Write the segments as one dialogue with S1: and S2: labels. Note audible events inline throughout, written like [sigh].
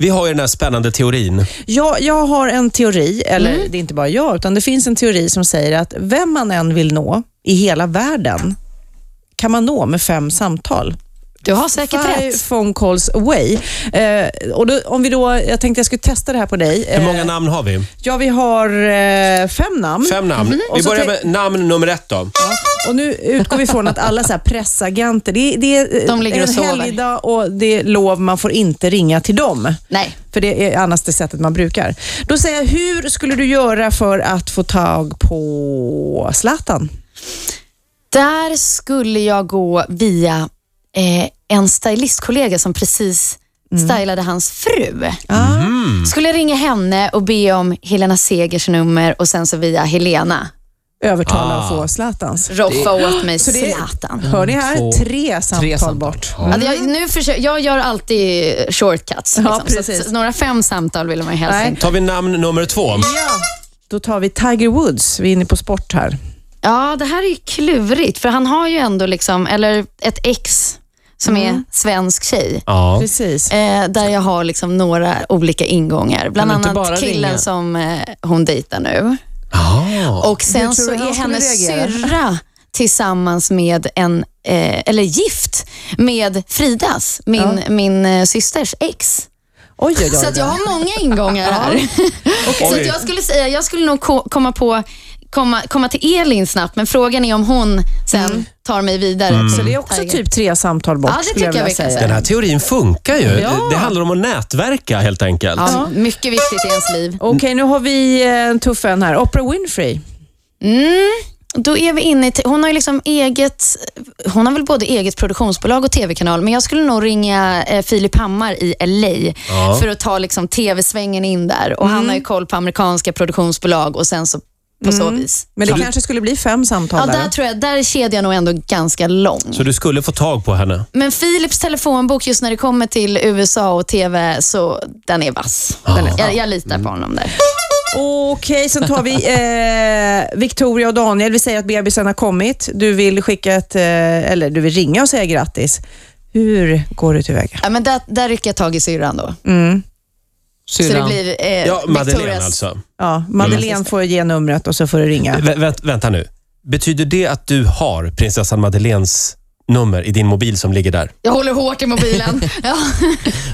S1: Vi har ju den här spännande teorin.
S2: Jag, jag har en teori, eller
S3: Mm.
S2: det är inte bara jag, utan det finns en teori som säger att vem man än vill nå i hela världen kan man nå med fem samtal.
S3: Du har säkert
S2: Five
S3: rätt.
S2: phone calls away. Eh, och då, om vi då, jag tänkte jag skulle testa det här på dig.
S1: Hur
S2: Eh,
S1: många namn har vi?
S2: Ja, vi har eh, fem namn.
S1: Fem namn. Vi
S2: Och så
S1: börjar med
S2: tänk-
S1: namn nummer ett då.
S2: Ja, Och nu utgår vi från att alla så här pressagenter, det, är- det är eh,
S3: De ligger och
S2: en
S3: sover.
S2: helgdag och det är lov, man får inte ringa till dem.
S3: Nej.
S2: För det är annars det sättet man brukar. Då säger jag, hur skulle du göra för att få tag på Zlatan?
S3: Där skulle jag gå via eh, en stylistkollega som precis
S2: Mm.
S3: stylade hans fru.
S2: Ah.
S3: Skulle jag ringa henne och be om Helena Segers nummer och sen så via Helena.
S2: Övertala
S1: Ah. Mm,
S2: och få Zlatans.
S3: Roffa åt mig
S2: Så det- Mm.
S3: Zlatan.
S2: Hör ni här?
S1: två,
S2: tre samtal
S4: samtal.
S2: bort.
S1: Ja.
S3: Alltså jag, nu försöker, jag gör alltid shortcuts.
S2: Ja,
S3: Liksom. så,
S2: precis.
S3: att- så, några fem samtal vill man ju helst
S2: Nej.
S3: inte.
S1: Tar vi namn nummer två?
S2: Ja. Då tar vi Tiger Woods. Vi är inne på sport här.
S3: Ja, det här är ju klurigt för han har ju ändå liksom, eller ett ex som
S2: Mm.
S3: är svensk tjej.
S1: Ja.
S2: Precis.
S3: Eh, där jag har liksom några olika ingångar. Bland
S4: Kan du inte bara
S3: annat killen
S4: ringa?
S3: som eh, hon dejtar nu.
S1: Ah.
S3: Och sen
S2: tror
S3: så
S2: du han
S3: är
S2: skulle
S3: hennes
S2: reagera?
S3: syrra tillsammans med en, eh, eller gift med Fridas, min, min eh, systers ex.
S2: Oj, oj,
S3: Så
S2: oj.
S3: att jag har många
S2: [laughs]
S3: ingångar här. Så att jag skulle säga, jag skulle nog ko- komma på komma, komma till Elin snabbt, men frågan är om hon sen
S2: Mm.
S3: tar mig vidare.
S2: Så det är också typ tre samtal bort,
S3: Ja, det
S2: skulle jag
S3: tycker jag
S2: vilja
S3: vi kan
S2: säga.
S1: Den här teorin funkar ju.
S2: Ja.
S1: Det handlar om att nätverka helt enkelt.
S3: Ja, mycket viktigt i ens liv.
S2: Okej, nu har vi eh, en tuff en här. Oprah Winfrey.
S3: Då är vi inne i, hon har ju liksom eget, hon har väl både eget produktionsbolag och tv-kanal, men jag skulle nog ringa eh, Filip Hammar i LA
S1: Ja.
S3: för att ta liksom tv-svängen in där. Och han har ju koll på amerikanska produktionsbolag och sen så på så vis.
S2: Men det kanske skulle bli fem
S3: Ja,
S2: samtal
S3: där tror jag, där är kedjan nog ändå ganska lång.
S1: Så du skulle få tag på henne.
S3: Men Philips telefonbok just när det kommer till USA och TV, så den är vass.
S1: Ah.
S3: Den är, jag, jag litar
S1: Mm.
S3: på honom där.
S2: Okej, sen tar vi eh, Victoria och Daniel. Vi säger att bebisen har kommit. Du vill skicka ett, eh, eller du vill ringa och säga grattis. Hur går du tillväga? Mm.
S3: Ja, men där, där rycker jag tag i syrran då. Så det
S4: Syrran.
S3: blir eh,
S1: Ja, Madeleine
S3: Victorias-
S1: alltså.
S2: Ja, Madeleine
S1: Mm.
S2: får ge numret och så får du ringa.
S1: Vä vänt- vänta nu. Betyder det att du har prinsessan Madeleines nummer i din mobil som ligger där?
S3: Jag håller hårt
S1: [laughs]
S3: i mobilen. ja,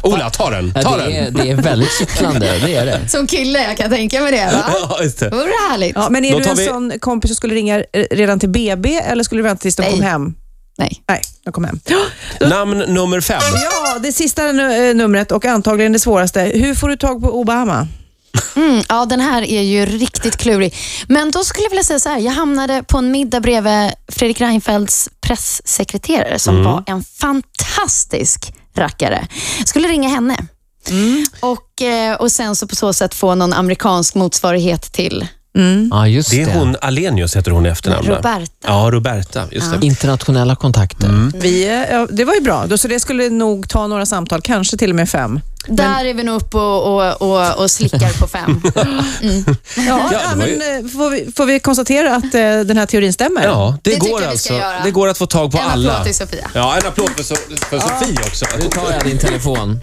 S1: Ola, ta den! Ta
S4: Ja,
S1: den!
S4: det, är, det är väldigt kittlande, det är det.
S3: som kille, jag kan tänka mig det. Va?
S1: [laughs] Ja, just det.
S3: Vore härligt?
S2: Ja, men är
S1: Då
S2: du
S1: tar
S2: en
S1: vi-
S2: sån kompis som skulle ringa eh, redan till BB eller skulle du vänta tills de
S3: Nej.
S2: kom hem?
S3: Nej.
S2: Nej, de kom hem.
S1: Namn nummer fem.
S2: Ja, det sista nu- eh, numret och antagligen det svåraste. Hur får du tag på Obama?
S3: Mm, ja, den här är ju riktigt klurig. Men då skulle jag vilja säga så här. Jag hamnade på en middag bredvid Fredrik Reinfeldts pressekreterare som var en fantastisk rackare. Jag skulle ringa henne. Och, eh, och sen så på så sätt få någon amerikansk motsvarighet till
S4: Ja, just
S1: Det
S4: det.
S1: är hon, Alenius heter hon i efternamn. va?
S3: Roberta.
S1: Ja, Roberta. Just det.
S4: Internationella kontakter.
S2: Vi, eh, ja, det var ju bra, Då- så det skulle nog ta några samtal, kanske till och med fem.
S3: Där är vi nog uppe och, och, och, och slickar på fem.
S2: Ja,
S1: Ja, det var
S2: men,
S1: ju-
S2: eh, får, vi, får vi konstatera att eh, den här teorin stämmer?
S1: Ja, det,
S3: Det tycker
S1: går
S3: jag vi ska
S1: alltså.
S3: göra.
S1: Det går att få tag på
S3: En
S1: alla.
S3: applåd till Sofia.
S1: Ja, en applåd för, so för Sofie också.
S4: Nu tar jag din telefon.